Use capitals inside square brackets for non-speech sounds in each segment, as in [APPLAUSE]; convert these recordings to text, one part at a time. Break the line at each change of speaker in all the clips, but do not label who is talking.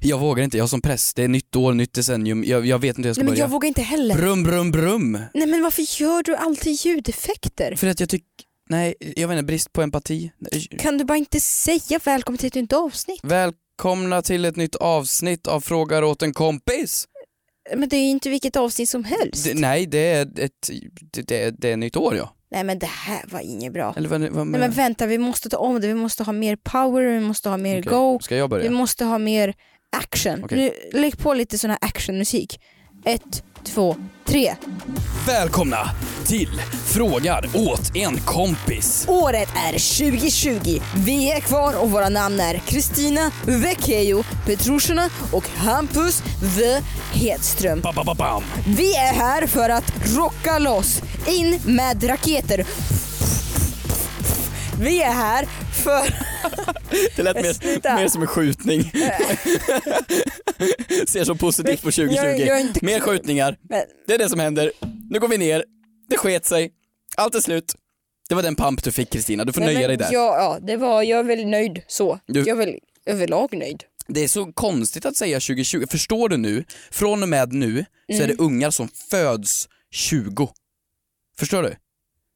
Jag vågar inte, jag som präst, det är nytt år, nytt decennium, jag, jag vet inte hur jag ska
Nej, men
börja.
jag vågar inte heller.
Brum, brum, brum!
Nej men varför gör du alltid ljudeffekter?
För att jag tycker, nej, jag vet inte, brist på empati.
Kan du bara inte säga välkommen till ett nytt avsnitt?
Välkomna till ett nytt avsnitt av Frågar åt en kompis!
Men det är ju inte vilket avsnitt som helst.
Det, nej, det är ett, det, det, är- det är nytt år ja.
Nej men det här var inget bra.
Eller vad, vad
Nej men vänta, vi måste ta om det. Vi måste ha mer power, vi måste ha mer
Okej,
go,
Ska jag
vi
börja?
måste ha mer action.
Okej.
Nu, lägg på lite sån här actionmusik. Ett, två, tre.
Välkomna till Frågar åt en kompis.
Året är 2020. Vi är kvar och våra namn är Kristina Vecchio Petrushina och Hampus V Hedström.
Ba, ba, ba, bam.
Vi är här för att rocka loss. In med raketer. Vi är här för...
Det lät mer,
Sluta.
mer som
[LAUGHS]
en skjutning. Ser så positivt på 2020.
Jag- jag är inte-
Mer skjutningar.
Men-
Det är det som händer. Nu går vi ner. Det sket sig. Allt är slut. Det var den pump du fick Kristina. Du får
Nej, men
nöja dig där.
Ja, ja, det var, jag är väl nöjd så.
Du-
Jag är väl överlag nöjd.
Det är så konstigt att säga 2020. Förstår du nu? Från och med nu så är det
Mm.
ungar som föds 20. Förstår du?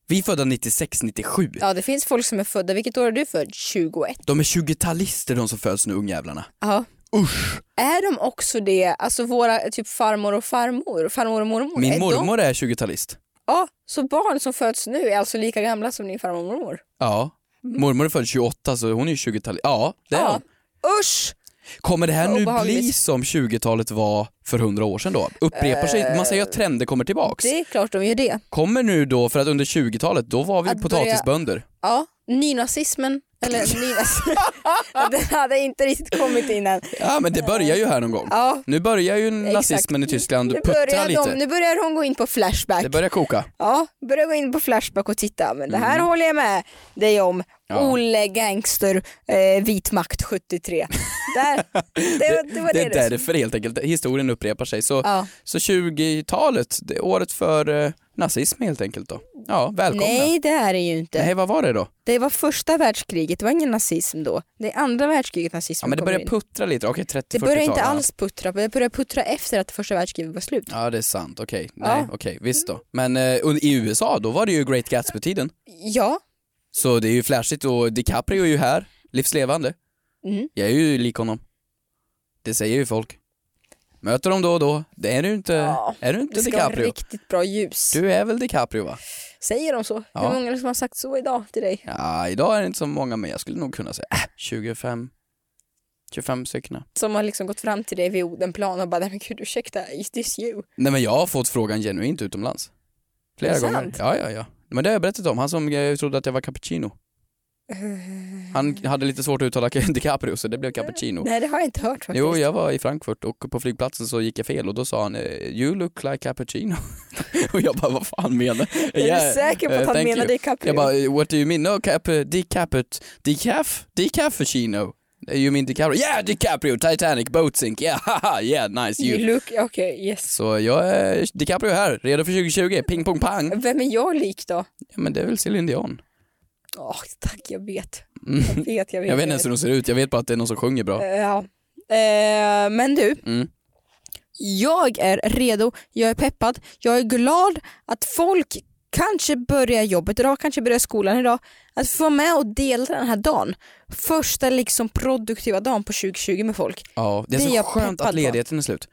Vi är födda 96, 97.
Ja, det finns folk som är födda. Vilket år är du född? 21.
De är 20-talister de som föds nu, ungjävlarna.
Ja.
Usch!
Är de också det? Alltså våra typ farmor och farmor? Farmor och mormor? är
Min
de-
mormor är 20-talist.
Ja, så barn som föds nu är alltså lika gamla som din farmor och mormor?
Ja.
Mm.
Mormor är född 28 så hon är ju 20-talist. Ja, det är hon.
Usch!
Kommer det här nu
Obehagligt.
bli som 20-talet var för 100 år sedan då? Upprepar sig, man säger att trender kommer tillbaks.
Eh, Det är klart de gör det.
Kommer nu då, för att under 20-talet då var vi
Att
potatisbönder.
Ja, nynazismen, eller nynazismen, den hade inte riktigt kommit innan.
Ja men det börjar ju här någon gång.
Ja,
Nu börjar ju
exakt.
nazismen i Tyskland
nu
puttra
börjar,
lite.
de, nu börjar hon gå in på Flashback.
Det börjar koka.
Ja, börjar gå in på Flashback och titta. Men det här håller jag med dig om.
Mm. Ja.
Olle Gangster, eh, Vit Makt 73.
[LAUGHS]
Där, det, det var
Det
det.
är därför helt enkelt, historien upprepar sig. Så,
Ja.
så 20-talet, det är året för eh, nazism helt enkelt då. Ja, välkomna.
Nej, det är det ju inte.
Nej, vad var det då?
Det var första världskriget, det var ingen nazism då. Det är andra världskriget nazismen
Ja men det
kommer
börjar
in.
puttra lite, okej 30-40-talet.
Det börjar inte alls puttra, det börjar puttra efter att första världskriget var slut.
Ja det är sant, okej.
Ja.
Nej, okej, visst då. Men eh, und- i USA då var det ju Great Gatsby-tiden.
Ja,
Så det är ju flashigt och DiCaprio är ju här, livslevande.
Mm.
Jag är ju lik honom. Det säger ju folk. Möter dem då och då. Det är du inte,
Ja,
är du inte
Det ska ha
DiCaprio?
riktigt bra ljus.
Du är väl DiCaprio va?
Säger de så?
Ja.
Hur många som har sagt så idag till dig?
Ja, idag är det inte så många men jag skulle nog kunna säga äh, 25, 25 stycken.
Som har liksom gått fram till dig vid Odenplan och bara nej men gud ursäkta, is this you?
Nej men jag har fått frågan genuint utomlands. Flera
Är det
gånger.
sant?
Ja, ja, ja. Men det har jag berättat om, han som eh, trodde att jag var cappuccino. Han hade lite svårt att uttala [LAUGHS] DiCaprio så det blev cappuccino.
Eh. Nej det har jag inte hört faktiskt.
Jo, jag var i Frankfurt och på flygplatsen så gick jag fel och då sa han eh, “You look like cappuccino” [LAUGHS] och jag bara “Vad fan menar
Är du säker på
eh,
att han
thank
menar
you.
DiCaprio?
Jag bara “What do you mean? No, cap, eh, decapit, decaf, decaffuccino? You mean DiCaprio? Yeah, DiCaprio, Titanic, boat sink, yeah, [LAUGHS] haha, yeah, nice
you
you”.
look, okej yes.
Så jag är DiCaprio är här, redo för 2020, ping pong pang.
Vem är jag lik då?
Ja, men det är väl Céline Dion.
Åh tack, jag vet. Jag vet, jag vet.
Mm. Jag vet inte ens hur hon ser ut, jag vet bara att det är någon som sjunger bra.
Eh, Ja. Eh, men du.
Mm.
Jag är redo, jag är peppad, jag är glad att folk kanske börjar jobbet idag, kanske börjar skolan idag. Att få vara med och dela den här dagen. Första liksom produktiva dagen på 2020 med folk.
Ja, det är
Det är
så
jag
skönt
peppad
att ledigheten är slut.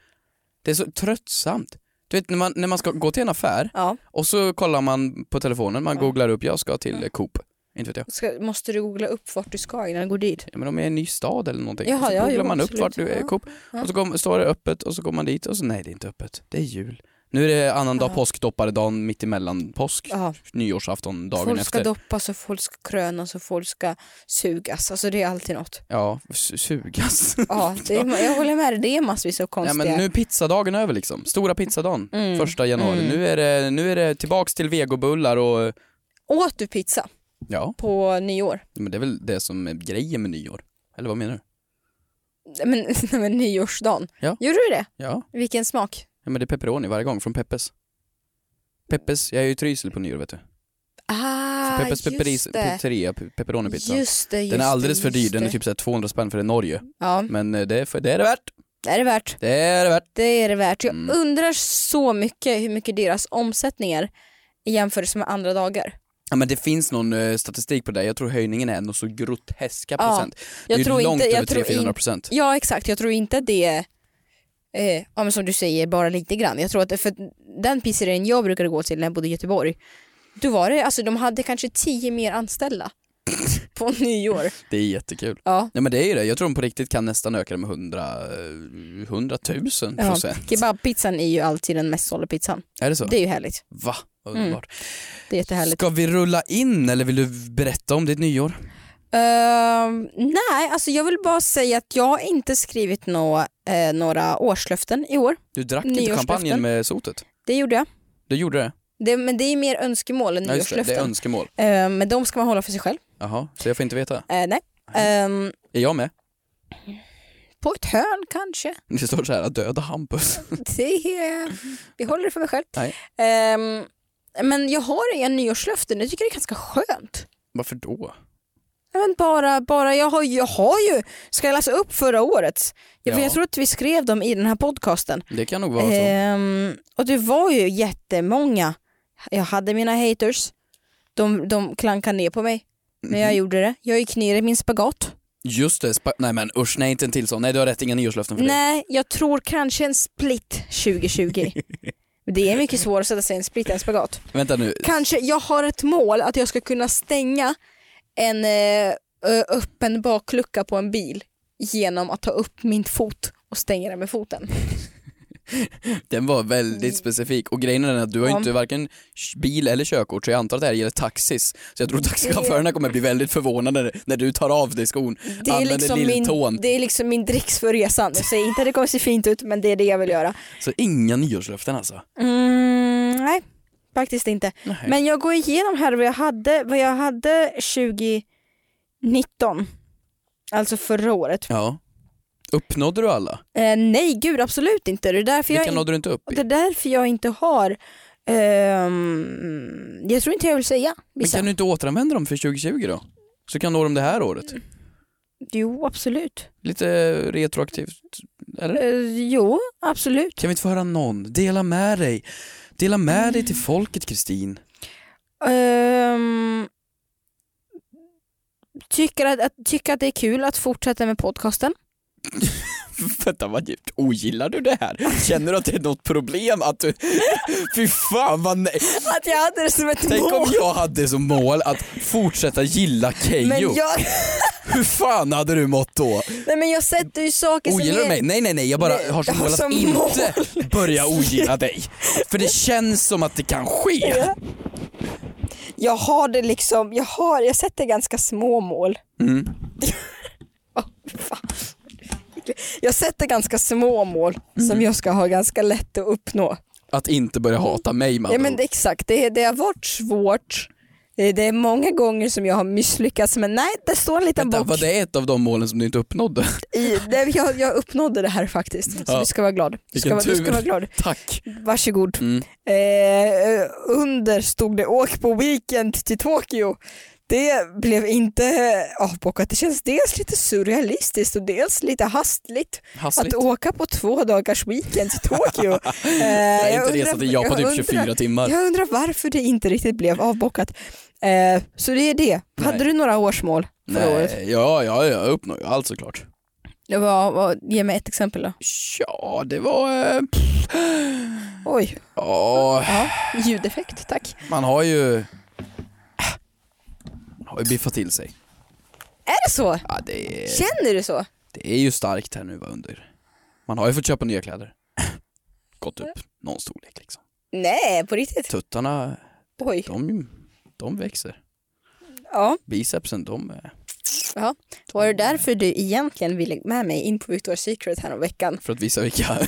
Det är så tröttsamt. Du vet när man, när man ska gå till en affär
Ja.
och så kollar man på telefonen, man googlar upp jag ska till eh, Coop. Inte vet jag.
Ska, måste du googla upp vart du ska innan du går dit?
Ja, men om jag är i en ny stad eller någonting.
Jaha,
så
ja,
googlar
jo,
man upp
absolut.
vart du är
Ja.
Coop och så kom, står det öppet och så går man dit och så nej det är inte öppet, det är jul. Nu är det annandag påsk, dopparedagen, mittemellan påsk,
Ja.
nyårsafton, dagen
Folk ska
efter.
doppas och folk ska krönas och folk ska sugas. Alltså det är alltid
[LAUGHS]
något.
ja, su- sugas.
Ja, det är, jag håller med dig, det är massvis av
Ja,
konstiga.
men nu är pizzadagen över liksom, stora pizzadagen,
Mm.
första januari.
Mm.
Nu, är det, nu är det tillbaks till vegobullar och
Åt du pizza
ja,
på nyår?
men det är väl det som är grejen med nyår. Eller vad menar du?
Men, [LAUGHS] nej, men nyårsdagen.
Ja.
Gjorde du det?
Ja,
Vilken smak?
ja men det är pepperoni varje gång från Peppes. Peppes, jag är ju i Trysil på nyår vet du.
Ah,
Så Peppes pepperis,
just det.
pizzeria, pe- pepperoni-pizza.
Just det, just
Den är alldeles
det,
för dyr,
just
den är
det.
typ så här 200 spänn för det är Norge.
Ja,
Men eh, det är, för, det är det värt.
det är det värt.
Det är det värt.
Det är det värt. Jag
Mm.
undrar så mycket hur mycket deras omsättning är i jämförelse med andra dagar.
Ja men det finns någon eh, statistik på det där. jag tror höjningen är något så groteska
Ja,
procent. Det är
Jag
ju
tror
långt
inte, jag
över
tror
300-400
in-
procent.
Ja exakt, jag tror inte att det är eh, ja, men som du säger, bara lite grann. Jag tror att för att den pizzerian jag brukade gå till när jag bodde i Göteborg, då var det, alltså de hade kanske tio mer anställda [LAUGHS] på nyår.
Det är jättekul.
Ja.
Nej men det är ju det, jag tror de på riktigt kan nästan öka det med 100, eh, 100 000
Ja,
procent.
Kebabpizzan är ju alltid den mest sålda pizzan.
Är det så?
Det Mm, är ju härligt.
Va? Underbart.
Det är jättehärligt.
Ska vi rulla in eller vill du berätta om ditt nyår?
Ehm, nej, alltså jag vill bara säga att jag har inte skrivit nå, eh, några årslöften i år.
Du drack inte
Nyårslöften.
champagnen med sotet.
Det gjorde jag.
Du gjorde det?
Det, men det är mer önskemål än
Ja, just det, det är
nyårslöften.
önskemål.
Ehm, men de ska man hålla för sig själv.
Jaha, så jag får inte veta.
Eh, nej. Ehm,
Är jag med? [LAUGHS]
på ett hörn kanske.
Det står så här, döda Hampus. [LAUGHS]
Det är, vi håller det för mig själv.
Nej.
Ehm, men jag har inga nyårslöften. Jag tycker det är ganska skönt.
Varför då?
Nej, Men bara, bara jag, har, jag har ju, ska jag läsa upp förra årets? Jag, för
Ja.
jag tror att vi skrev dem i den här podcasten.
Det kan nog vara så.
Ehm, och det var ju jättemånga. Jag hade mina haters. De, de klankade ner på mig. Men
Mhm.
jag gjorde det. Jag gick ner i min spagat.
Just det, spa- nej men usch, nej inte en till sån. Nej du har rätt, inga nyårslöften för dig.
Nej, jag tror kanske en split
[LAUGHS]
2020. det är mycket svårare att sätta sig i en split än en spagat.
Vänta nu,
Kanske, jag har ett mål att jag ska kunna stänga en eh, ö- öppen baklucka på en bil genom att ta upp min fot och stänga den med foten.
den var väldigt specifik och grejen är den att du har
Mm. Ja.
inte varken bil eller körkort så jag antar att det här gäller taxis. Så jag tror taxichaufförerna kommer bli väldigt förvånade när- när du tar av dig skon,
Det är,
använder
liksom
lilltån.
min, det är liksom min dricks för resan. Jag säger inte att det kommer se fint ut men det är det jag vill göra.
Så inga nyårslöften alltså.
Mm, nej, faktiskt inte.
Nej.
Men jag går igenom här vad jag hade, vad jag hade 2019. Alltså förra året.
Ja. Uppnådde du alla?
Eh, nej, gud absolut inte. Det är därför, jag,
Vilka
in,
nådde du inte upp i?
det är därför jag inte har... ehm, jag tror inte jag vill säga
Men
vissa.
kan du inte återanvända dem för 2020 då? Så kan du nå dem det här året.
Mm. Jo, absolut.
Lite eh, retroaktivt, eller?
Eh, jo, absolut.
Kan vi inte få höra någon? Dela med dig. Dela med dig till folket Kristin.
Ehm, tycker, att, att, tycker att det är kul att fortsätta med podcasten.
[LAUGHS] Vänta, vad djupt. Ogillar du det här? Känner du att det är något problem att du... [LAUGHS] Fy fan vad nej.
Att jag hade det som ett
Tänk
mål.
om jag hade som mål att fortsätta gilla
Men
Keyyo.
jag,
Hur fan hade du mått då?
nej men jag sätter ju saker som
Ogillar du
är-
mig? Nej nej nej, jag bara
Nej,
har som
jag har
mål att
som
inte börja ogilla dig. För det känns som att det kan ske.
Jag har det liksom, jag har, jag sätter ganska små mål.
Mm.
[LAUGHS] Åh, fan. jag sätter ganska små mål
Mm.
som jag ska ha ganska lätt att uppnå.
Att inte börja hata mig man.
Ja men det, exakt, det, det har varit svårt. Eh, Det, det är många gånger som jag har misslyckats men nej, det står en liten
Vänta,
bock.
var det ett av de målen som du inte uppnådde? [LAUGHS]
I, det, jag, jag uppnådde det här faktiskt, så
Ja.
du ska vara glad. Du ska,
Vilken
vara- du
tur.
ska vara glad.
Tack.
Varsågod.
Mm.
Eh, under stod det åk på weekend till Tokyo. Det blev inte avbockat. Det känns dels lite surrealistiskt och dels lite hastligt
Hassligt.
att åka på två dagars weekend till
[LAUGHS]
Tokyo. Eh,
Jag
jag
har inte
undrar-
resat till Japan
jag
typ
undrar-
24 timmar.
Jag undrar varför det inte riktigt blev avbockat. Eh, så det är det. Hade
Nej.
du några årsmål förra året?
Nej, ja, ja, jag uppnår ju allt såklart.
Det var, var, ge mig ett exempel då.
Ja, det var... eh, pff,
Oj,
Ja,
ja, ljudeffekt tack.
man har ju... äh, Man har ju biffat till sig.
Är det så?
Ja, det, är,
Känner du så?
det är ju starkt här nu va, under. Man har ju fått köpa nya kläder. Gått upp. någon storlek liksom.
Nej, på riktigt?
Tuttarna,
Oj.
de, de växer.
Ja.
Bicepsen, de... eh,
Jaha. Var det därför du egentligen ville med mig in på Victoria's Secret här om veckan? [LAUGHS]
För att visa vilka,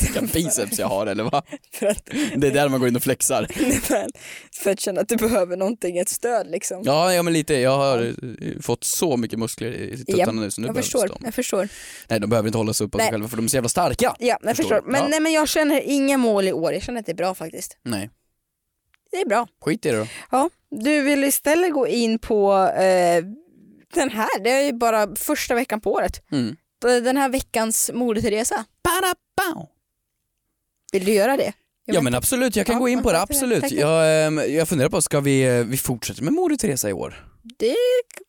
vilka biceps jag har eller vad?
För att, [LAUGHS]
Det är där man går in och flexar.
för att- för att känna att du behöver någonting, ett stöd liksom.
Ja, ja men lite. Jag har eh, fått så mycket muskler i tuttarna nu så nu
jag
behövs
förstår,
de.
jag förstår.
Nej, de behöver inte hålla sig upp av sig
Nej.
själva för de är så jävla starka.
Ja, jag
Förstår
förstår.
du?
Men,
Ja.
nej, men jag känner inga mål i år, jag känner att det är bra faktiskt.
Nej,
Det är bra.
skit i det då.
Ja, du vill istället gå in på eh, den här, det är ju bara första veckan på året.
Mm.
Den här veckans Moder Teresa.
Ba-da-bao.
Vill du göra det? Jag
Ja
vet
men absolut, jag kan
Ja,
gå in på
ja,
det,
tack för det.
absolut.
Tack.
Jag, ehm, jag funderar på, ska vi, eh, vi fortsätta med Moder Teresa i år?
Det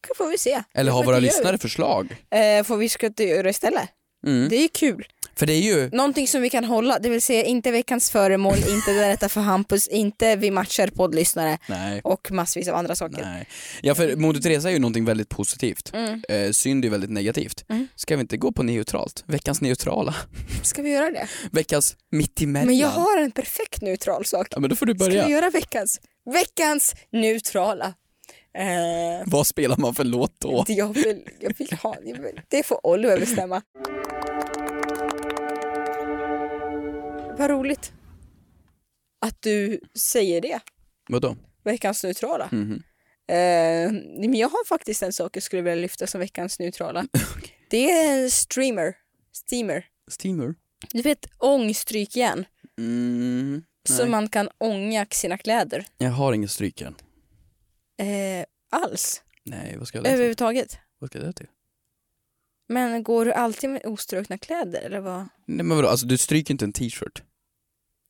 k- får vi se.
Eller har
Men
våra
det gör
lyssnare förslag?
vi. Eh, får vi ska inte göra istället?
Mm.
Det är ju kul.
För det är ju,
Någonting som vi kan hålla, det vill säga inte veckans
[LAUGHS]
föremål, inte det rätta för Hampus, inte vi matchar poddlyssnare
nej.
och massvis av andra saker.
Nej. Ja för Moder Teresa är ju någonting väldigt positivt.
Mm.
Eh, synd är väldigt negativt. Ska vi inte gå på neutralt? Veckans neutrala? [LAUGHS]
Ska vi göra det?
Veckans mittemellan?
Men jag har en perfekt neutral sak.
Ja men då får du
Ska vi
börja.
göra veckans? Veckans neutrala. Eh,
Vad spelar man för låt då?
det jag, vill, jag vill ha, jag vill- det får Oliver bestämma. Vad roligt att du säger det.
Vadå?
veckans neutrala.
Mhm.
Eh, men jag har faktiskt en sak jag skulle vilja lyfta som veckans
[LAUGHS]
neutrala. Det är en streamer. Steamer.
Steamer?
Du vet ångstrykjärn
Mm,
som man kan ånga sina kläder.
jag har ingen strykjärn.
Eh, alls.
Nej vad ska jag till?
Överhuvudtaget.
Vad ska det till?
Men går du alltid med ostrukna kläder eller vad?
Nej men vadå, alltså du stryker inte en t-shirt.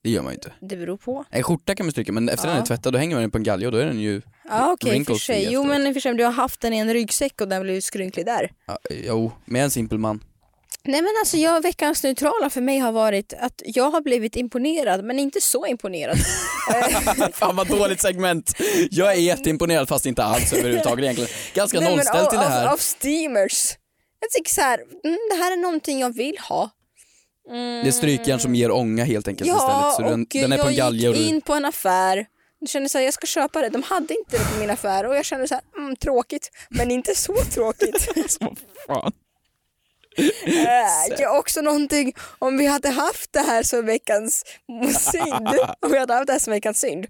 Det gör man ju inte.
Det beror på.
En skjorta kan man stryka men efter den är
Ja.
tvättad då hänger man den på en galge och då är den ju,
Ja okej, i och för
Wrinkles
sig.
free
Jo
efteråt.
men i och för sig om du har haft den i en ryggsäck och den blev skrynklig där.
ja, jo, med en simpel man.
Nej men alltså jag, veckans neutrala för mig har varit att jag har blivit imponerad men inte så imponerad.
[LAUGHS] Fan vad dåligt segment! Jag är jätteimponerad fast inte alls överhuvudtaget egentligen. Ganska
Nej, men alltså,
nollställt i
av,
det här.
Av, av steamers. Jag tycker så här, mm, det här är någonting jag vill ha.
Det är strykjärn som ger ånga helt enkelt istället. Så den,
och
den är på en
jag
galge och
gick
du...
in på en affär. Jag kände så här, jag ska köpa det. De hade inte det på min affär och jag kände så här, mm, tråkigt, men inte så
[LAUGHS]
tråkigt.
Fan.
Äh, jag också någonting, om vi hade haft det här som veckans
[LAUGHS]
synd, om vi hade haft det här som veckans synd,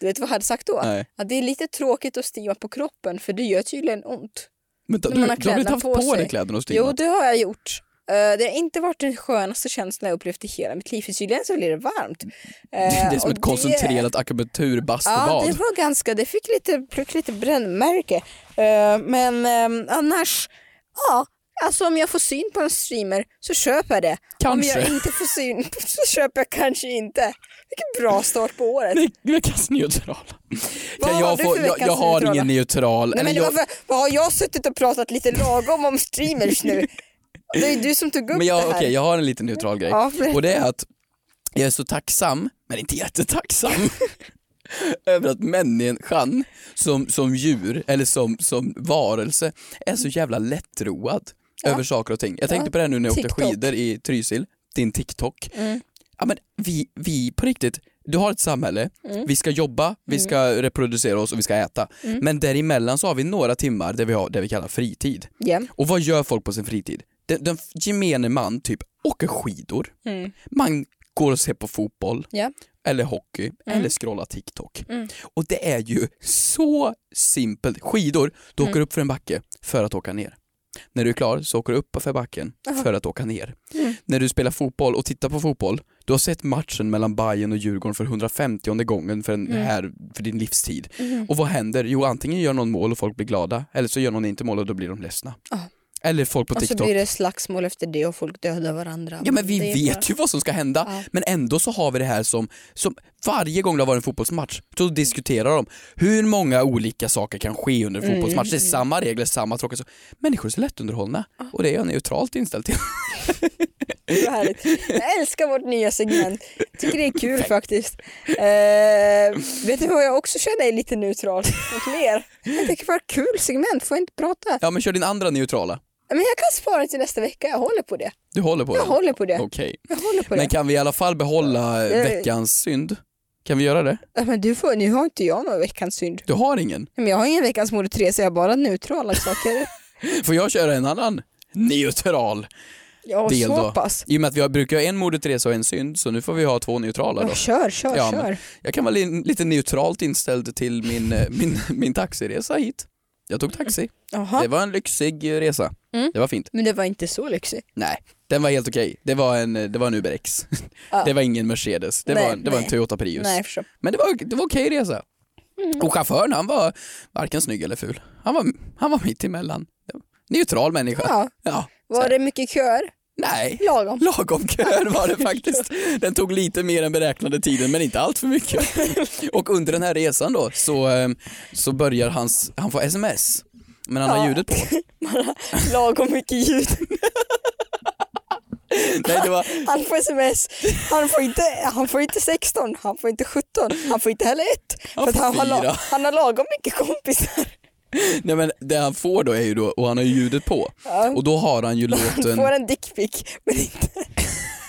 du vet vad jag hade sagt då?
Nej.
Att det är lite tråkigt att stima på kroppen för det gör tydligen ont.
Vänta,
När
du,
man
du
har
har inte
kläderna
haft
på
på,
sig.
dig kläderna och
Jo,
stygnet?
det har jag gjort. Eh, Det har inte varit den skönaste känslan jag upplevt i hela mitt liv, för tydligen så blir det varmt. Eh,
[LAUGHS] Det är som
och
ett koncentrerat
Ja,
akupunkturbastubad.
det var ganska, det fick lite, fick lite brännmärke. Eh, Men ehm, annars, ja, alltså om jag får syn på en streamer så köper jag det. Om jag
Kanske.
inte får syn så köper jag kanske inte. Vilken bra start på året.
Nej, Veckans neutrala.
Vad
Kan
har
jag,
du
få,
för
jag,
veckans
jag har
neutrala?
ingen neutral.
Nej,
eller
men det
jag,
var för, vad har jag suttit och pratat lite lagom om streamers nu? Det är ju du som tog upp
Men jag,
det här.
okej, jag har en liten neutral grej.
Ja, berätta.
och det är att jag är så tacksam, men
[LAUGHS]
inte jättetacksam, över att människan som, som djur, eller som, som varelse, är så jävla lättroad över saker och ting. Jag tänkte på det här nu när jag åkte
TikTok. Mm.
skidor i Trysil, din TikTok. Ja, men vi, vi, på riktigt, du har ett samhälle,
Mm.
vi ska jobba, vi ska reproducera oss och vi ska äta. Men däremellan så har vi några timmar där vi har det vi kallar fritid.
Ja.
Och vad gör folk på sin fritid? Den, den gemene man typ åker skidor, man går och ser på fotboll,
Ja. Mm.
eller hockey, eller scrollar TikTok. Och det är ju så simpelt. Skidor, du åker
Mm.
upp för en backe för att åka ner. När du är klar så åker du upp för backen för att åka ner.
Mm.
När du spelar fotboll och tittar på fotboll, du har sett matchen mellan Bayern och Djurgården för 150 gången för,
Mm.
en, här, för din livstid. Och vad händer? Jo, antingen gör någon mål och folk blir glada, eller så gör någon inte mål och då blir de ledsna. Eller folk på
Och så
TikTok.
blir det slagsmål efter det och folk dödar varandra.
Ja men vi
Det är
vet
bara- [LAUGHS]
ju vad som ska hända men ändå så har vi det här som, som varje gång det har varit en fotbollsmatch så diskuterar de hur många olika saker kan ske under en
Mm,
fotbollsmatch. Det är samma regler, samma tråkiga saker. Människor är så lättunderhållna och det är jag neutralt inställd till. [LAUGHS]
Vad härligt. Jag älskar vårt nya segment. Tycker det är kul faktiskt. Eh, vet du vad jag också känner är lite neutralt mot mer? Jag tycker det var ett kul segment, får jag inte prata?
Ja men kör din andra neutrala.
Men jag kan spara till nästa vecka, jag håller på det.
Du håller på
Jag
den?
håller på det.
Okej.
Jag håller på
Men
det.
kan vi i alla fall behålla eh,
Eh.
veckans synd? Kan vi göra det?
Ja, Men du får, nu har inte jag någon veckans synd.
Du har ingen?
Men jag har ingen veckans mode 3 så jag har bara neutrala saker.
Får jag köra en annan neutral
Ja,
del
så
då?
pass.
I och med att vi har- brukar ha en moder Teresa och en synd så nu får vi ha två neutrala då.
Ja, kör, kör,
Ja, men-
kör.
Jag kan vara li- lite neutralt inställd till min, eh, [LAUGHS] min, min taxiresa hit. Jag tog taxi.
Jaha.
Det var en lyxig eh, resa.
Mm.
Det var fint.
Men det var inte så lyxigt.
Nej, den var helt okej. Det var en, eh, det var en Uber X.
Ja.
Det var ingen Mercedes. Det,
Nej,
var, en, det var en
nej.
Toyota Prius.
Nej, Mm. jag förstår.
Men det var, det var okej resa. Och chauffören han var varken snygg eller ful. Han var, han var mitt emellan. Neutral människa.
Ja.
Ja.
Var det mycket köer?
Nej.
Lagom.
Lagom kör var det faktiskt. Den tog lite mer än beräknade tiden men inte allt för mycket. Och under den här resan då så, ehm, så börjar hans, han får sms. Men han har
Ja.
ljudet på.
[LAUGHS] Lagom mycket ljud.
Nej, det var,
Han får sms. Han får, inte, han får inte 16, han får inte 17, han får inte heller 1.
Han får
han, har, la-
fyra.
han har lagom mycket kompisar.
nej men det han får då är ju då, och han har ju ljudet på. Och då har han ju
Han
låten,
får en dickpic men inte,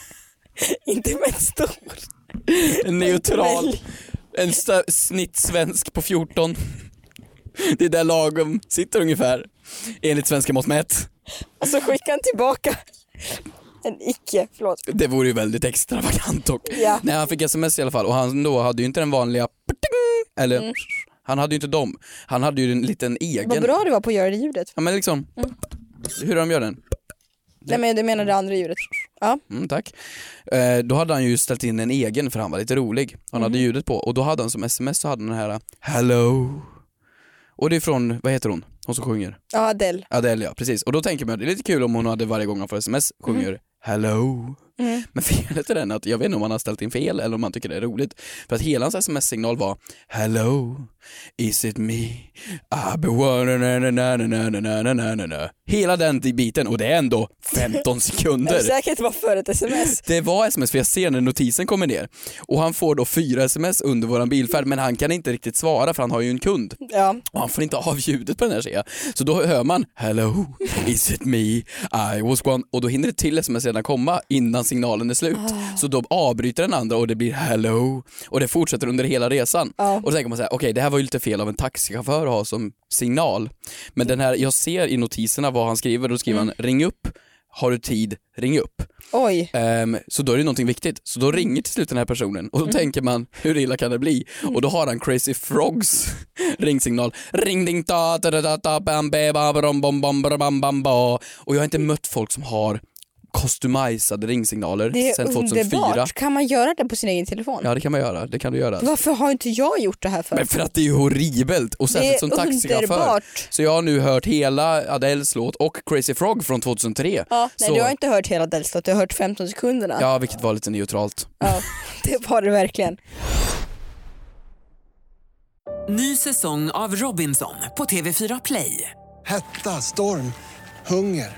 [LAUGHS] inte med en stor.
en neutral,
Välj.
en sta- snittsvensk på 14. Det är där lagom sitter ungefär, enligt svenska mått mätt.
Och så skickar han tillbaka en icke, förlåt.
Det vore ju väldigt extravagant och
Ja.
Nej, han fick sms i alla fall och han då hade ju inte den vanliga pting, eller han hade ju inte dem. Han hade ju en liten egen.
Mm. Vad bra Mm. du var på att göra det ljudet.
Ja, men liksom, hur de gör den?
Nej men du menar det andra ljudet. Ja.
Mm, tack. Eh, då hade han ju ställt in en egen för han var lite rolig. Han hade
Mm.
ljudet på och då hade han som sms så hade han den här hello. Och det är från, vad heter hon? Hon som sjunger?
ja, Adele.
Adele ja, precis. Och då tänker man det är lite kul om hon hade varje gång hon får sms sjunger hello.
Mm.
Men felet är den att jag vet inte om han har ställt in fel eller om han tycker det är roligt. För att hela hans sms-signal var hello, is it me, I've been wanting na na na na na na na na na na. Hela den biten och det är ändå 15
Det
sekunder.
säkert var före ett sms.
Det var sms för jag ser när notisen kommer ner och han får då fyra sms under våran bilfärd men han kan inte riktigt svara för han har ju en kund
Ja.
och han får inte av ljudet på den här tjejen. Så då hör man hello, is it me, I was one och då hinner det till sms redan komma innan signalen är slut. Så då avbryter den andra och det blir hello och det fortsätter under hela resan.
Ja.
Och då tänker man så här, okej det här var ju lite fel av en taxichaufför att ha som signal. Men den här, jag ser i notiserna vad han skriver, då skriver han ring upp, har du tid, ring upp.
Oj.
Ehm, så då är det någonting viktigt. Så
Mm.
då ringer till slut den här personen och då tänker man hur illa kan det bli?
Mm.
Och då har han Crazy Frogs [LAUGHS] ringsignal. Ring ding ta ta ta ta ta bam be, ba brom bom bom bra, bam bam ba. Och jag har inte mött folk som har customizade ringsignaler
Det är
sedan 2004.
underbart. Kan man göra det på sin egen telefon?
Ja det kan man göra, det kan du göra.
Varför har inte jag gjort det här för?
Alltså- Men för att det är ju horribelt och
Det
särskilt
är
som taxichaufför.
underbart.
Så jag har nu hört hela Adeles låt och Crazy Frog från 2003.
Ja, nej,
så,
du har inte hört hela Delsta, du har hört 15 sekunderna.
ja vilket var lite neutralt.
Ja, [LAUGHS] det var det verkligen.
Ny säsong av Robinson på TV4 Play.
Hetta, storm, hunger.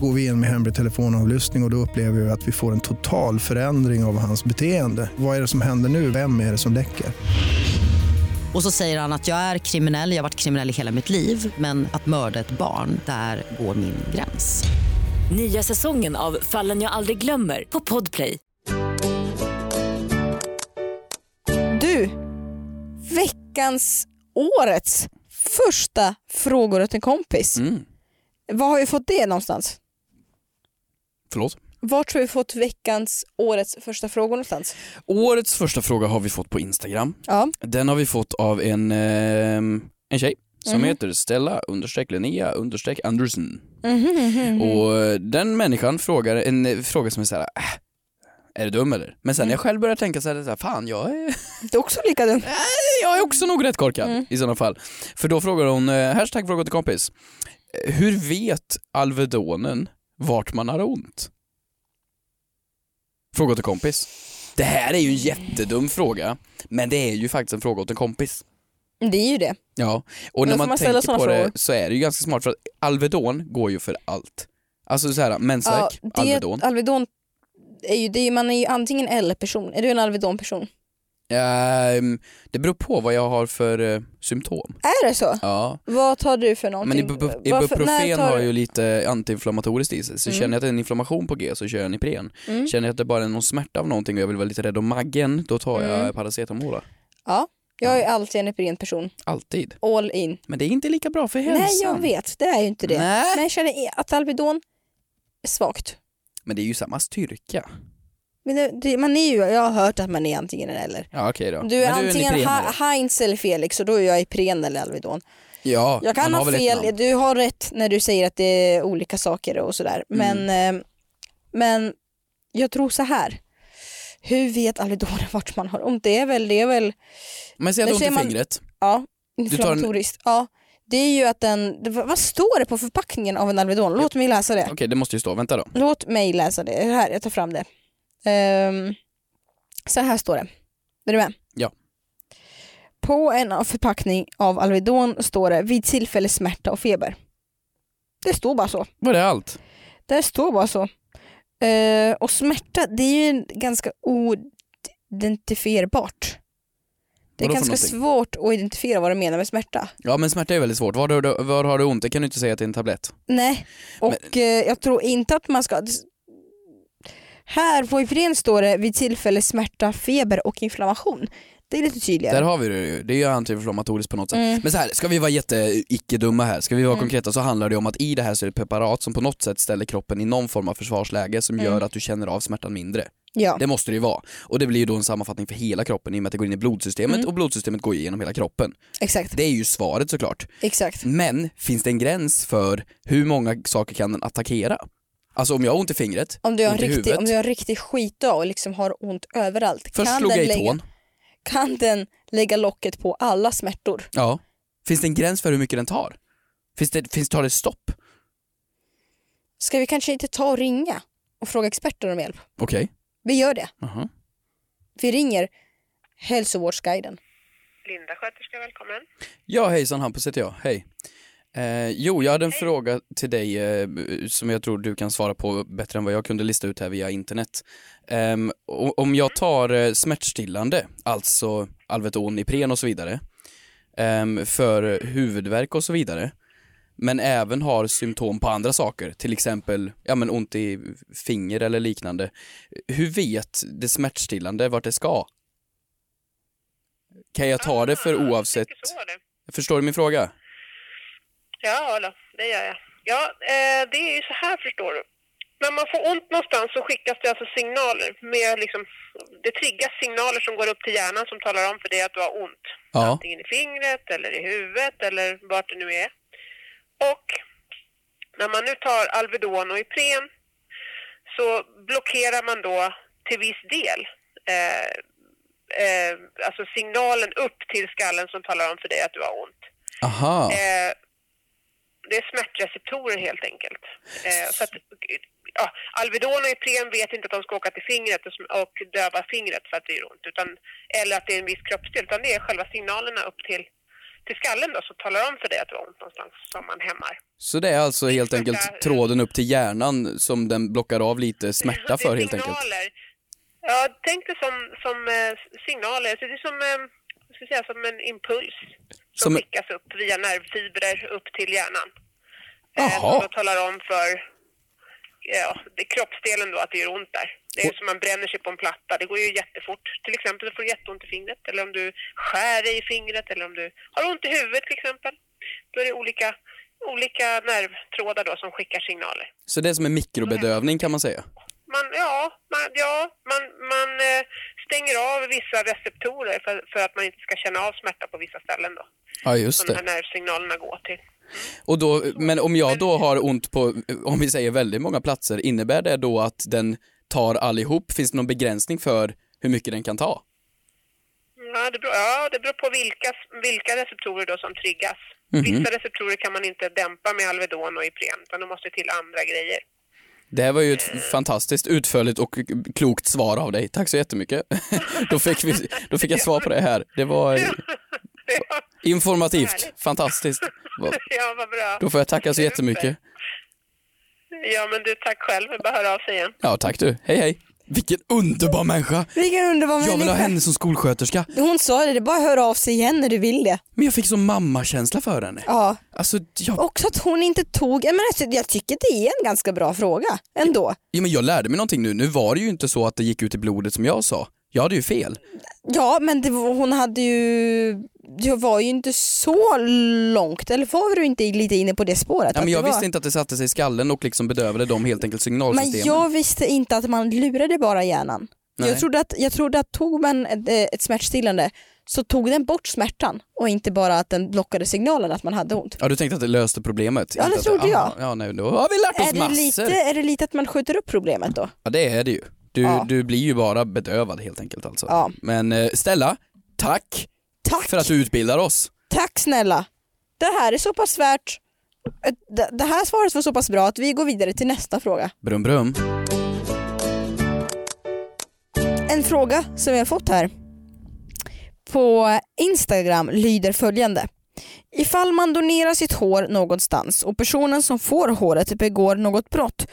Går vi in med hemlig telefonavlyssning och, och då upplever vi att vi får en total förändring av hans beteende. Vad är det som händer nu? Vem är det som läcker?
Och så säger han att jag är kriminell, jag har varit kriminell i hela mitt liv men att mörda ett barn, där går min gräns.
Nya säsongen av Fallen jag aldrig glömmer på Podplay.
Du, veckans, årets första frågor åt en kompis.
Mm.
Var har vi fått det någonstans?
Förlåt?
Vart har vi fått veckans, årets första frågor någonstans?
Årets första fråga har vi fått på Instagram.
Ja,
Den har vi fått av en, ehm, en tjej som
Mhm.
heter Stella understreck Linnea understreck Andersen.
Mm. Mm-hmm.
Och eh, den människan frågar en eh, fråga som är så här. Äh, är du dum eller? Men sen när jag själv börjar tänka så här, så här fan jag är,
Mm. det är också lika
[LAUGHS]
dumt.
jag är också nog rätt korkad
Mm.
i sådana fall. För då frågar hon, eh, hashtag fråga till kompis, Eh, hur vet Alvedonen vart man har ont? Fråga åt en kompis. Det här är ju en jättedum fråga, men det är ju faktiskt en fråga åt en kompis.
Det är ju det.
Ja, och när
får
man,
man ställa
tänker
såna
på det
frågor.
så är det ju ganska smart för att Alvedon går ju för allt. Alltså så här, mensvärk,
det,
Alvedon.
Alvedon är ju, det är, man är ju antingen L-person. Är du en Alvedon-person?
Ehm, det beror på vad jag har för eh, symptom.
Är det så?
Ja.
Vad tar du för
Men
någonting?
Ibu-
Varför-
Ibuprofen
när tar
har
du-
ju lite antiinflammatoriskt i sig, så
Mm.
känner jag att det är en inflammation på G så kör jag en Ipren.
Mm.
Känner jag att det bara är någon smärta av någonting och jag vill vara lite rädd om maggen, då tar jag
Mm.
paracetamol. då.
Jag är alltid en Ipren-person.
Alltid.
All in.
Men det är inte lika bra för hälsan.
Nej jag vet, det är ju inte det.
Nej.
Men jag känner i- att Alvedon är svagt.
Men det är ju samma styrka.
Men det, det, man är ju, jag har hört att man är antingen eller.
Ja okej då.
Du är
Men
antingen
Ipren,
ha,
eller?
Heinz eller Felix och då är jag Ipren eller Alvedon.
Ja,
Jag kan
man
ha
väl ett
fel,
namn.
du har rätt när du säger att det är olika saker och sådär.
Mm.
Men, eh, men jag tror så här. Hur vet Alvedonen vart man har ont? Det är väl, det är väl
Men säg att
Där
du har
ser
ont i
man-
fingret.
ja,
tar en-
inflammatoriskt. Ja, det är ju att den, det- vad vad står det på förpackningen av en Alvedon? Låt mig läsa det.
Okej det måste ju stå, vänta då.
Låt mig läsa det. Här, jag tar fram det. Ehm, så här står det. Är du med?
Ja.
På en av förpackning av Alvedon står det vid tillfälle smärta och feber. Det står bara så.
Var det allt?
Det står bara så. Eh, och smärta, det är ju ganska oidentifierbart. Det är
Vadå för
ganska
någonting?
svårt att identifiera vad du menar med smärta.
Ja men smärta är väldigt svårt, var, har du, var har du ont? Det kan du inte säga att det är en tablett.
Nej, och eh, jag tror inte att man ska... Här på Ipren står det vid tillfälle smärta, feber och inflammation. Det är lite tydligare.
Där har vi det ju, det är ju antiinflammatoriskt på något sätt.
Mm.
Men så här, ska vi vara jätte eh, icke-dumma här, ska vi vara
Mm.
konkreta så handlar det om att i det här så är det ett preparat som på något sätt ställer kroppen i någon form av försvarsläge som gör
Mm.
att du känner av smärtan mindre.
Ja.
Det måste det ju vara. Och det blir ju då en sammanfattning för hela kroppen i och med att det går in i blodsystemet
Mm.
och blodsystemet går igenom hela kroppen.
Exakt,
Det är ju svaret såklart.
exakt.
Men finns det en gräns för hur många saker kan den attackera? Alltså om jag har ont i fingret,
Om du, har en
ont i
riktig,
huvudet.
om du har en riktig skitdag och liksom har ont överallt,
Först
kan
slog
den,
jag i
lägga,
tån.
kan den lägga locket på alla smärtor?
Ja. Finns det en gräns för hur mycket den tar? Finns det, finns, tar det stopp?
Ska vi kanske inte ta och ringa och fråga experter om hjälp?
Okej.
Vi gör det.
Aha.
Vi ringer Hälsovårdsguiden.
Linda sköterska, välkommen.
Ja hejsan Hampus heter jag, hej. Eh, jo, jag hade en fråga till dig eh, som jag tror du kan svara på bättre än vad jag kunde lista ut här via internet. Ehm, o- om
Mm.
jag tar eh, smärtstillande, alltså Alvedon, Ipren och så vidare, ehm, för huvudvärk och så vidare, men även
Mm.
har symptom på andra saker, till exempel ja, men ont i finger eller liknande. Hur vet det smärtstillande vart det ska? Kan jag ta det för
Ah,
oavsett?
tänker Så var det.
Förstår du min fråga?
Ja, då, det gör jag. Ja, eh, det är ju så här förstår du. När man får ont någonstans så skickas det alltså signaler. Med liksom, det triggas signaler som går upp till hjärnan som talar om för dig att du har ont.
Ja.
Antingen i fingret eller i huvudet eller vart det nu är. Och när man nu tar Alvedon och Ipren så blockerar man då till viss del eh, eh, alltså signalen upp till skallen som talar om för dig att du har ont.
Aha,
Eh, det är smärtreceptorer helt enkelt. Eh, så att, ja, Alvedon och Ipren vet inte att de ska åka till fingret och, sm- och döva fingret för att det gör ont, utan, eller att det är en viss kroppsdel, utan det är själva signalerna upp till, till skallen då, som talar om för dig att du har ont någonstans som man hämmar.
så det är alltså helt enkelt tråden upp till hjärnan som den blockar av lite smärta
Det är
för helt enkelt?
signaler. Ja, tänk det som, som eh, signaler. Så det är som, eh, vad ska jag säga, som en impuls som,
Som-
skickas upp via nervfibrer upp till hjärnan. Eh,
Jaha.
som då talar om för ja, det är kroppsdelen då att det gör ont där. Det är som man bränner sig på en platta. Det går ju jättefort. Till exempel så får du jätteont i fingret eller om du skär dig i fingret eller om du har ont i huvudet till exempel. Då är det olika, olika nervtrådar då som skickar signaler.
Så det är som en mikrobedövning kan man säga?
Man, ja, man, ja man, man eh, stänger av vissa receptorer för, för att man inte ska känna av smärta på vissa ställen då.
Ja just
Som de här
det.
nervsignalerna går till.
Och då, men om jag då har ont på, om vi säger väldigt många platser, innebär det då att den tar allihop? Finns det någon begränsning för hur mycket den kan ta?
Mm, Ja, det beror, ja, det beror på vilka, vilka receptorer då som triggas.
Mhm.
Vissa receptorer kan man inte dämpa med Alvedon och Ipren, utan då måste till andra grejer. [LAUGHS]
Det här var ju ett fantastiskt utförligt och klokt svar av dig. Tack så jättemycket. [LAUGHS] Då fick, vi, då fick jag svar på det här. Det var informativt, fantastiskt. Va-
ja, vad bra.
Då får jag tacka så jättemycket.
Ja, men du, tack själv. Vi bara höra av sig igen.
Ja, tack du. Hej, hej. Vilken underbar människa!
Vilken underbar
Jag vill ha
människa.
henne som skolsköterska.
Hon sa det, det är bara att höra av sig igen när du vill det.
Men jag fick sån mammakänsla för henne.
Ja.
Alltså, jag,
Också att hon inte tog, jag, menar, alltså, jag tycker det är en ganska bra fråga ändå.
ja, men jag lärde mig någonting nu. Nu var det ju inte så att det gick ut i blodet som jag sa. Jag hade ju fel.
Ja men det, var- hon hade ju, jag var ju inte så långt, eller var du inte lite inne på det spåret?
Ja,
Att
men jag
det var...
visste inte att det satte sig i skallen och liksom bedövade dem helt enkelt
Men
signalsystemen.
jag visste inte att man lurade bara hjärnan.
Nej.
Jag trodde, att, jag trodde att tog man ett, eh, ett smärtstillande så tog den bort smärtan och inte bara att den blockade signalen att man hade ont.
Ja du tänkte att det löste problemet?
Ja, det
Inte att-
trodde jag.
Aha, Ja, nej, då har vi lärt
Är
oss
det,
massor.
lite, är det lite att man skjuter upp problemet då?
Ja det är det ju. Du,
Ja.
du blir ju bara bedövad helt enkelt alltså.
Ja.
Men eh, Stella, tack
Tack!
för att du utbildar oss.
Tack snälla! Det här är så pass värt ett- det- det här svaret var så pass bra att vi går vidare till nästa fråga.
Brum brum.
En fråga som vi har fått här på Instagram lyder följande. Ifall man donerar sitt hår någonstans och personen som får håret begår något brott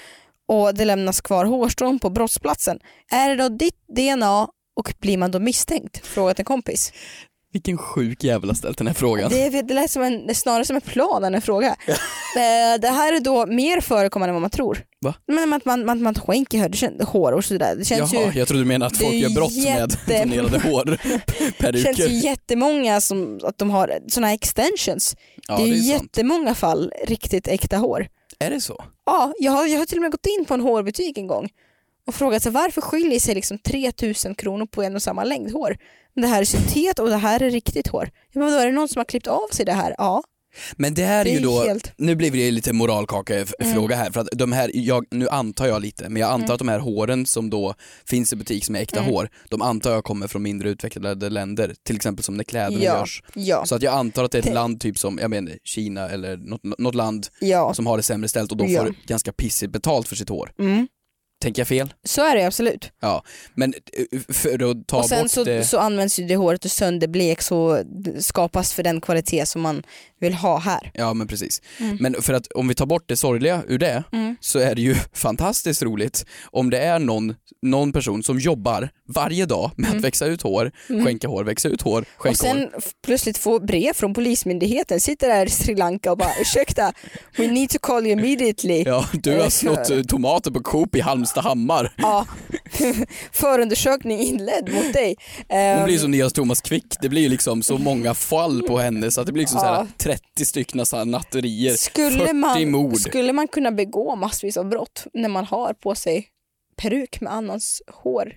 och det lämnas kvar hårstrån på brottsplatsen, är det då ditt DNA och blir man då misstänkt? Frågat en kompis.
Vilken sjuk jävel har ställt den här frågan.
Det, är- det lät som en, det är snarare som en plan än en fråga. Eh, det här är då mer förekommande än vad man tror.
Va?
Men att man, man, man skänker hår, det känns- hår och sådär. Det känns ju...
Jaha, jag trodde du menade att
Det är
folk gör brott
jätte- [LAUGHS]
med donerade hår,
Det känns ju
peruker.
jättemånga som att de har sådana här extensions.
Ja,
det är ju
sant.
jättemånga fall riktigt äkta hår.
Är det så?
Ja, jag har, jag har till och med gått in på en hårbutik en gång och frågat sig varför skiljer sig liksom 3000 kronor på en och samma längd hår? Men Det här är syntet och det här är riktigt hår. Jag bara, då är det någon som har klippt av sig det här? Ja.
Men det här är
Det
ju
är
då,
helt- Mm.
nu blir det lite moralkaka-fråga här, för att de här, jag, nu antar jag lite, men jag antar att de här håren som då finns i butik som är äkta
Mm.
hår, de antar jag kommer från mindre utvecklade länder, till exempel som när kläderna
Ja,
görs.
ja.
Så att jag antar att det är ett
Det-
land typ som, jag menar Kina eller något, något land
ja.
som har det sämre ställt och de
Ja.
får ganska pissigt betalt för sitt hår.
Mm.
Tänker jag fel?
Så är det absolut.
Ja, men eh, för att ta
och sen
bort
så,
det...
så används ju det håret och sönderblek så d- skapas för den kvalitet som man vill ha här.
Ja men precis.
Mm.
Men för att om vi tar bort det sorgliga ur det så är det ju [LAUGHS] fantastiskt roligt om det är någon, någon person som jobbar varje dag med att växa ut hår, skänka hår, växa ut hår, skänka
Mm. Och sen
hår.
f- plötsligt få brev från polismyndigheten, sitter där i Sri Lanka och bara ursäkta, we need to call you immediately.
Ja, du har
Eller
snott
hur?
eh, tomater på Coop i Halmstad hammar.
[LAUGHS] Ja. [LAUGHS] Förundersökning inledd mot dig.
Hon
Ehm,
blir som Nias Thomas Quick, det blir ju liksom så många fall på henne så att det blir liksom så här
Ja.
30 stycken så här natterier, 40
skulle, man,
mord.
skulle man kunna begå massvis av brott när man har på sig peruk med annans hår?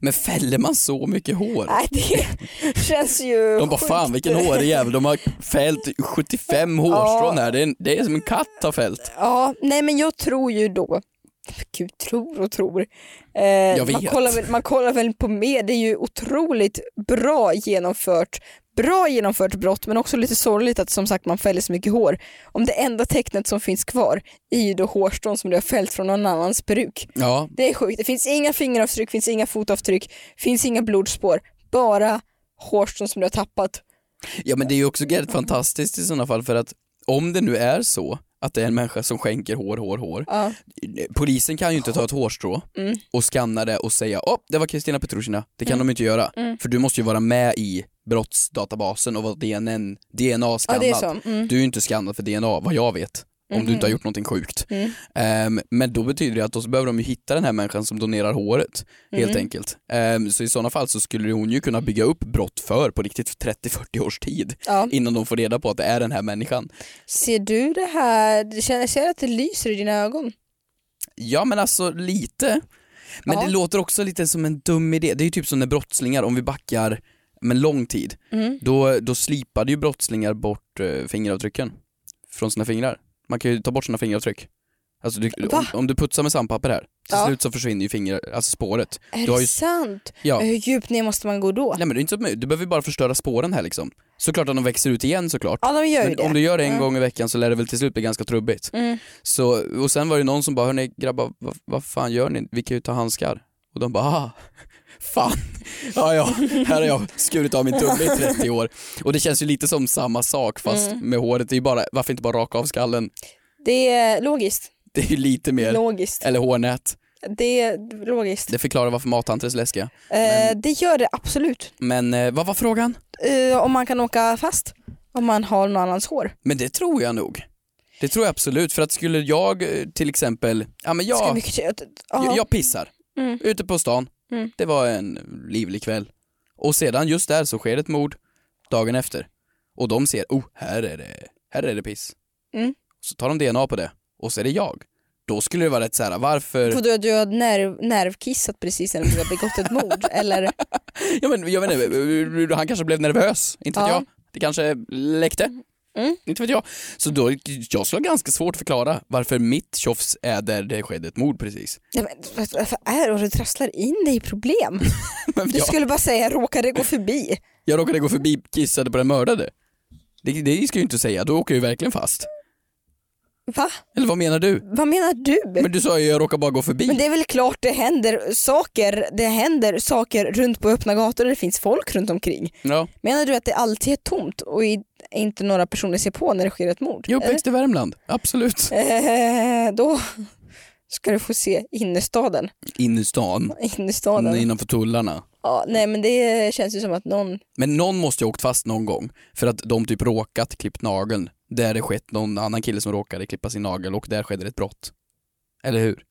Men fäller man så mycket hår?
Nej,
[LAUGHS]
det känns ju
De bara
sjukt.
fan vilken hårig jävel, de har fällt 75 hårstrån här, det är, det är som en katt har fällt.
Ja, nej men jag tror ju då, gud tror och tror. Eh,
vet.
Man, kollar väl, man kollar väl på mer, det är ju otroligt bra genomfört bra genomfört brott men också lite sorgligt att som sagt man fäller så mycket hår. Om det enda tecknet som finns kvar är ju då hårstrån som du har fällt från någon annans peruk.
Ja,
Det är sjukt, det finns inga fingeravtryck, finns inga fotavtryck, finns inga blodspår, bara hårstrån som du har tappat.
ja men det är ju också helt fantastiskt i sådana fall för att om det nu är så att det är en människa som skänker hår, hår, hår.
Ja. Mm.
Polisen kan ju inte ta ett hårstrå och skanna det och säga åh, det var Kristina Petrushina. Det kan de ju inte göra.
Mm.
För du måste ju vara med i brottsdatabasen och vara
Ja,
DNA-skannad.
det är så. Mm. Mm-hmm.
Du är ju inte skannad för DNA vad jag vet. Om du inte har gjort någonting sjukt.
Mm.
Ehm, men då betyder det att då så behöver de ju hitta den här människan som donerar håret.
Mm.
Helt enkelt. Ehm, så i sådana fall så skulle hon ju kunna bygga upp brott för på riktigt för 30-40 års tid.
Ja.
Innan de får reda på att det är den här människan.
Ser du det här? Du känner- Ser du att det lyser i dina ögon?
Ja men alltså lite. Men
Ja.
det låter också lite som en dum idé. Det är ju typ som när brottslingar, om vi backar men lång tid,
Mm.
då, då slipade ju brottslingar bort eh, fingeravtrycken från sina fingrar. Man kan ju ta bort sina fingeravtryck. Alltså du,
Va?
om, om du putsar med sandpapper här, till
Ja.
slut så försvinner ju finger, alltså spåret.
Är
Du har
det
ju-
sant?
Ja.
Hur djupt ner måste man gå då?
Nej men det är inte så, du behöver ju bara förstöra spåren här liksom. Såklart att de växer ut igen såklart.
Ja, de gör ju
Men
det. Mm.
om du gör det en gång i veckan så lär det väl till slut bli ganska trubbigt. Så, och sen var det någon som bara, hörni grabbar, vad, vad fan gör ni? Vi kan ju ta handskar. Och de bara, ah, fan. [LAUGHS] Ja, ja, här har jag skurit av min tumme i 30 år. Och det känns ju lite som samma sak fast med håret. Det är ju bara, varför inte bara raka av skallen? [LAUGHS]
Det är logiskt.
Det är ju lite mer,
Logiskt.
eller hårnät.
Det är logiskt.
Det förklarar varför mattanter är så läskiga.
Eh, det gör det absolut.
Men eh, vad var frågan?
Eh, om man kan åka fast. Om man har någon annans hår.
Men det tror jag nog. Det tror jag absolut, för att skulle jag eh, till exempel, ja men
Ska
jag,
mycket kött.
jag,
Ja.
jag pissar
Mm.
ute på stan,
Mm.
det var en livlig kväll. Och sedan just där så sker ett mord dagen efter. Och de ser, oh här är det, här är det piss.
Mm.
Så tar de DNA på det och så är det jag. Då skulle det vara rätt såhär, varför?
För du, du har nerv, nervkissat precis när du har begått ett
[LAUGHS]
mord. eller
Ja, men, jag vet inte, han kanske blev nervös, inte vet
Ja.
jag. Det kanske läckte.
Mm.
Inte vet jag. Så då, jag skulle ha ganska svårt att förklara varför mitt tjofs är där det skedde ett mord precis. [LAUGHS]
Nej, men, vad- Varför är det? Och Du trasslar in dig i problem.
Men
Du
jag,
skulle bara säga råkade gå förbi.
jag råkade gå förbi kissade på den mördade. Det, det ska jag ju inte säga, då åker jag ju verkligen fast.
Va?
Eller vad menar du?
Vad menar du? Men,
Men du sa ju jag råkar bara gå förbi.
det är väl klart det händer saker. Det händer saker runt på öppna gator och det finns folk runt omkring.
Ja.
Menar du att det alltid är tomt och i, inte några personer ser på när det sker ett mord?
Jag är uppväxt i Värmland, absolut.
Eh, då ska du få se innerstaden.
In i stan,
innerstaden.
innanför tullarna.
Ja, nej men det känns ju som att någon...
Men någon måste ju ha åkt fast någon gång för att de typ råkat klippt nageln. Där det skett någon annan kille som råkade klippa sin nagel och där skedde ett brott. Eller hur?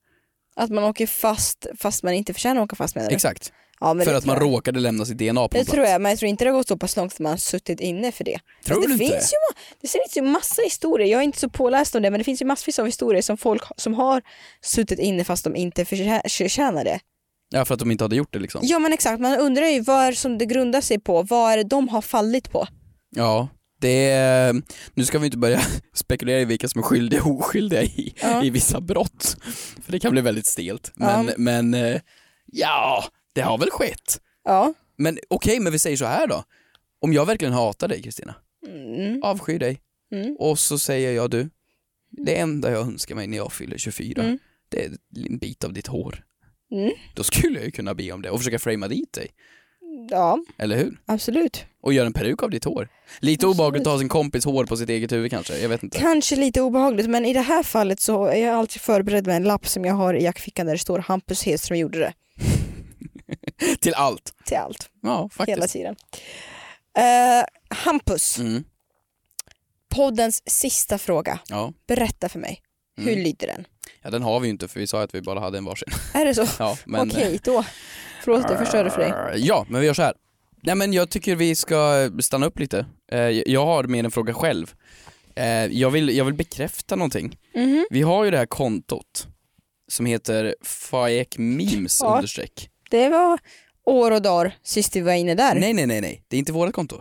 Att man åker fast fast man inte förtjänar att åka fast med det.
Exakt.
Ja, Eh, men
För
det
att man
tror jag.
råkade lämna sitt DNA på
Det
en
tror
plats.
jag, men jag tror inte det har gått så pass långt att man har suttit inne för det.
Tror
Fast det
du inte?
finns ju ma- det finns ju massa historier, jag är inte så påläst om det, men det finns ju massvis av historier som folk ha- som har suttit inne fast de inte förtjä- förtjänar det.
Ja, för att de inte hade gjort det liksom.
Ja men exakt, man undrar ju vad är det som det grundar sig på, vad är det de har fallit på?
Ja, det är... Nu ska vi inte börja [LAUGHS] spekulera i vilka som är skyldiga och oskyldiga i,
Ja.
i vissa brott. För det kan bli väldigt stelt. Men,
Ja.
men eh, ja, det har väl skett.
Ja,
Men okej, men vi säger så här då. Om jag verkligen hatar dig Kristina,
mm.
avskyr dig
Mm.
och så säger jag du, det enda jag önskar mig när jag fyller 24
Mm.
det är en bit av ditt hår.
Mm.
Då skulle jag ju kunna be om det och försöka framea dit dig,
ja
eller hur?
absolut.
Och göra en peruk av ditt hår. Lite obehagligt att ha sin kompis hår på sitt eget huvud kanske, jag vet inte.
Kanske lite obehagligt men i det här fallet så är jag alltid förberedd med en lapp som jag har i jackfickan där det står Hampus Hedström gjorde det.
Till allt.
Till allt,
Ja, faktiskt.
hela tiden. Eh, Hampus,
Mm,
poddens sista fråga.
ja.
Berätta för mig, hur
Mm.
lyder den?
ja, den har vi ju inte för vi sa ju att vi bara hade en varsin. [LAUGHS]
Är det så?
Ja, men, eh,
Okej då. Förlåt att jag förstörde för dig.
Ja, men vi gör så här. Nej men jag tycker vi ska stanna upp lite. Eh, Jag har mer en fråga själv. Eh, Jag vill, jag vill bekräfta någonting.
Mhm.
Vi har ju det här kontot som heter Faek Memes
Ja.
understreck.
Det var år och dagar sist vi var inne där.
Nej nej nej nej, det är inte vårt konto.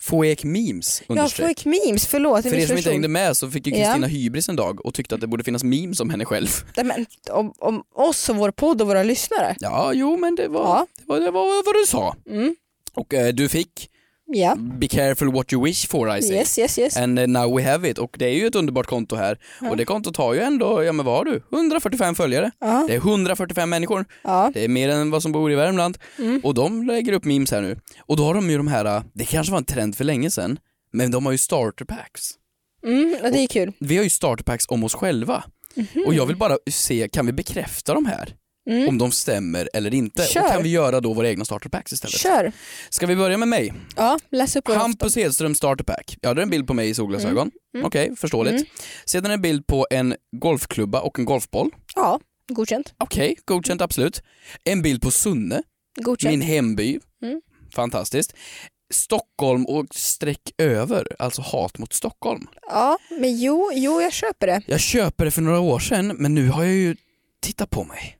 Faek Memes
jag
understreck.
fick E memes, förlåt. jag
För er som inte
missförstod.
hängde med så fick ju
Ja.
Kristina hybris en dag och tyckte att det borde finnas memes om henne själv.
Nej, men, om, om oss och vår podd och våra lyssnare.
Ja, jo men det var,
Ja.
det var, det var vad du sa.
Mm.
Och eh, du fick
Ja,
Be careful what you wish for I say.
yes yes yes.
And eh, now we have it och det är ju ett underbart konto här och det kontot har ju ändå, ja men vad har du, 145 följare.
Ja.
Det är 145 människor,
Ja.
det är mer än vad som bor i Värmland
Mm.
och de lägger upp memes här nu. Och då har de ju de här, eh, det kanske var en trend för länge sedan, men de har ju starterpacks.
Mm, och det är kul.
Vi har ju starterpacks om oss själva och jag vill bara se, kan vi bekräfta de här?
Mhm. Mm.
Om de stämmer eller inte. Och
Kör.
kan vi göra då våra egna starterpacks istället?
Kör.
Ska vi börja med mig?
Ja, läs upp vår
Hampus Hedström starterpack. Ja, det är en bild på mig i solglasögon.
Mm.
Okej, förståeligt. Sedan en bild på en golfklubba och en golfboll.
Ja, godkänt.
Okej, godkänt absolut. En bild på Sunne,
Godkänt.
min hemby.
Mm.
Fantastiskt. Stockholm och streck över, alltså hat mot Stockholm.
Ja, men jo, jo, jag köper det.
Jag köper det för några år sedan, men nu har jag ju tittat på mig.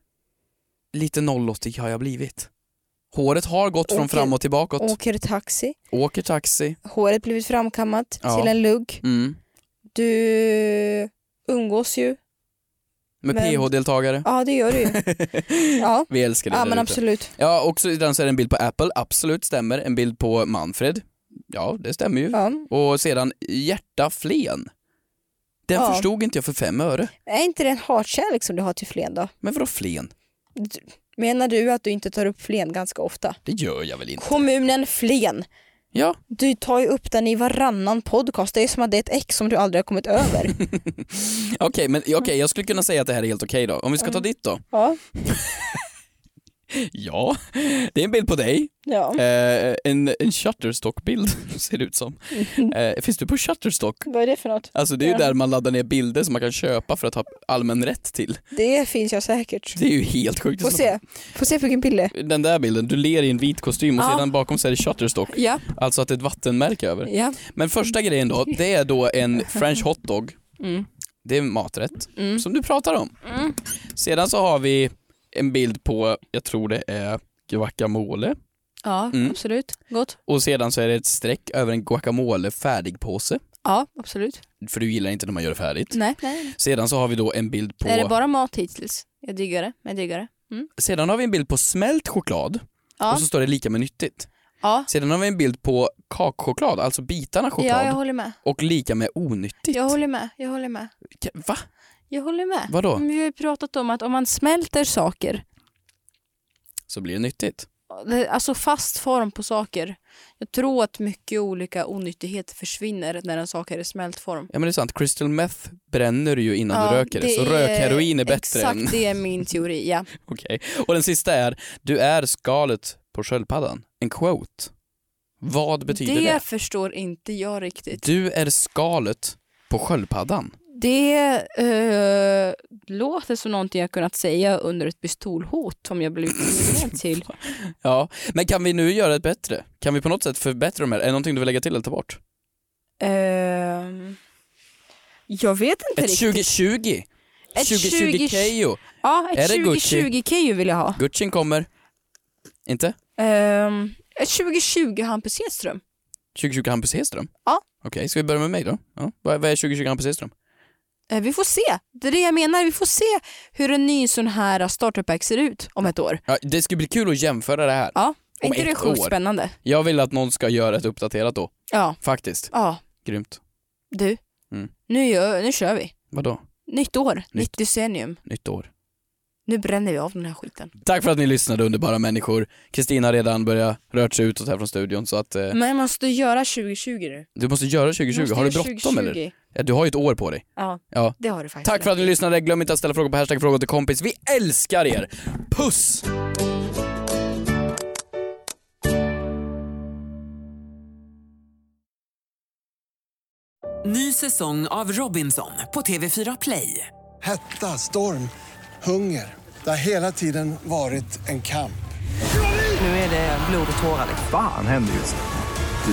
Lite 080 har jag blivit. Håret har gått från
Åker-
fram och tillbakåt.
Åker taxi,
Åker taxi.
håret blivit framkammat
Ja.
till en lugg.
Mm.
Du umgås ju.
Med
Men-
PH-deltagare.
Ja, det
[LAUGHS]
gör du ju. Ja,
Vi älskar det
ja
där
men
ute.
absolut.
Ja, och så, den så är det en bild på Apple, absolut stämmer. En bild på Manfred, Ja, det stämmer ju.
Ja.
Och sedan Hjärta Flen. Den
Ja.
förstod inte jag för fem öre.
Är inte det en hatkärlek som du har till Flen då?
Men vadå Flen?
Du- Menar du att du inte tar upp Flen ganska ofta?
Det gör jag väl inte?
Kommunen Flen.
Ja,
Du tar ju upp den i varannan podcast. Det är som att det är ett ex som du aldrig har kommit [LAUGHS] över.
okej, men okej, jag skulle kunna säga att det här är helt okej då. Om vi ska
Mm.
ta ditt då?
Ja.
Ja, det är en bild på dig.
ja.
Eh, en, en Shutterstock-bild [LAUGHS] ser det ut som. Eh, finns du på Shutterstock?
Vad är det för något?
Alltså det är ju
Ja.
där man laddar ner bilder som man kan köpa för att ha allmän rätt till.
Det finns jag säkert.
Det är ju helt sjukt.
Få se. Få se vilken bild det är.
Den där bilden, du ler i en vit kostym och
Ja.
sedan bakom så är det Shutterstock.
Ja,
Alltså att det är ett vattenmärke över.
ja.
Men första grejen då, det är då en french hotdog.
Mm,
Det är en maträtt som du pratar om. Sedan så har vi en bild på, jag tror det är guacamole.
Ja,
Mm.
absolut. Gott.
Och sedan så är det ett streck över en guacamole färdigpåse.
Ja, absolut.
För du gillar inte när man gör det färdigt.
Nej. Nej.
Sedan så har vi då en bild på...
Är det bara mat hittills? Jag diggar det. Jag diggar det. Mm.
Sedan har vi en bild på smält choklad
Ja.
och så står det lika med nyttigt.
Ja.
Sedan har vi en bild på kakchoklad, alltså bitarna choklad
ja, jag håller med.
och lika med onyttigt.
Jag håller med. Jag håller med.
Ka- Va?
Jag håller med.
Vadå?
Men Vi har ju pratat om att om man smälter saker,
Så blir det nyttigt.
det- alltså fast form på saker. Jag tror att mycket olika onyttigheter försvinner när en sak är i smält form.
Ja men det är sant, crystal meth bränner du ju innan du
Ja,
röker det, så
är-
rökheroin är bättre
Exakt,
än... [LAUGHS]
det är min teori. Ja.
Okej. Och den sista är, du är skalet på sköldpaddan. En quote. Vad [LAUGHS] betyder
det,
det?
förstår inte jag riktigt.
Du är skalet på sköldpaddan.
Det eh, låter som någonting jag kunnat säga under ett pistolhot om jag blivit
[LAUGHS]
inbjuden till.
Ja, men kan vi nu göra ett bättre? Kan vi på något sätt förbättra de här? Är det någonting du vill lägga till eller ta bort?
Ehm, jag vet inte
Ett
riktigt.
2020!
Ett
2020 Keyyo!
Ja, ett
Är det Gucci?
2020 Keyyo vill jag ha.
Gucci'n kommer. Inte?
Ehm, ett 2020 Hampus Hedström.
2020 Hampus Hedström?
Ja.
Okej, ska vi börja med mig då? Ja. Vad vad är 2020 Hampus Hedström?
Eh, vi får se. Det är det jag menar. Vi får se hur en ny sån här startup ser ut om ett år.
Ja, det skulle bli kul att jämföra det här.
Ja, är
Om
inte det
ett
sjukt
år.
spännande?
Jag vill att någon ska göra ett uppdaterat då.
Ja,
Faktiskt.
ja.
Grymt.
Du,
Mm.
nu, gör, nu kör vi.
Vadå?
Nytt år, nytt, decennium.
Nytt år.
Nu bränner vi av den här skiten.
Tack för att ni lyssnade underbara människor. Kristina har redan börjat röra sig utåt här från studion så att eh,
Men jag måste göra 2020 nu.
du måste göra 2020.
Måste
har du
göra
bråttom
2020.
eller? Ja, du har ju ett år på dig.
Ja,
Ja.
det har du faktiskt.
Tack för att ni lyssnade. Glöm inte att ställa frågor på hashtag frågor till kompis. Vi älskar er. Puss!
Ny säsong av Robinson på TV4 Play.
Hetta, storm, hunger. Det har hela tiden varit en kamp.
Nu är det blod och tårar. liksom.
Fan händer just nu.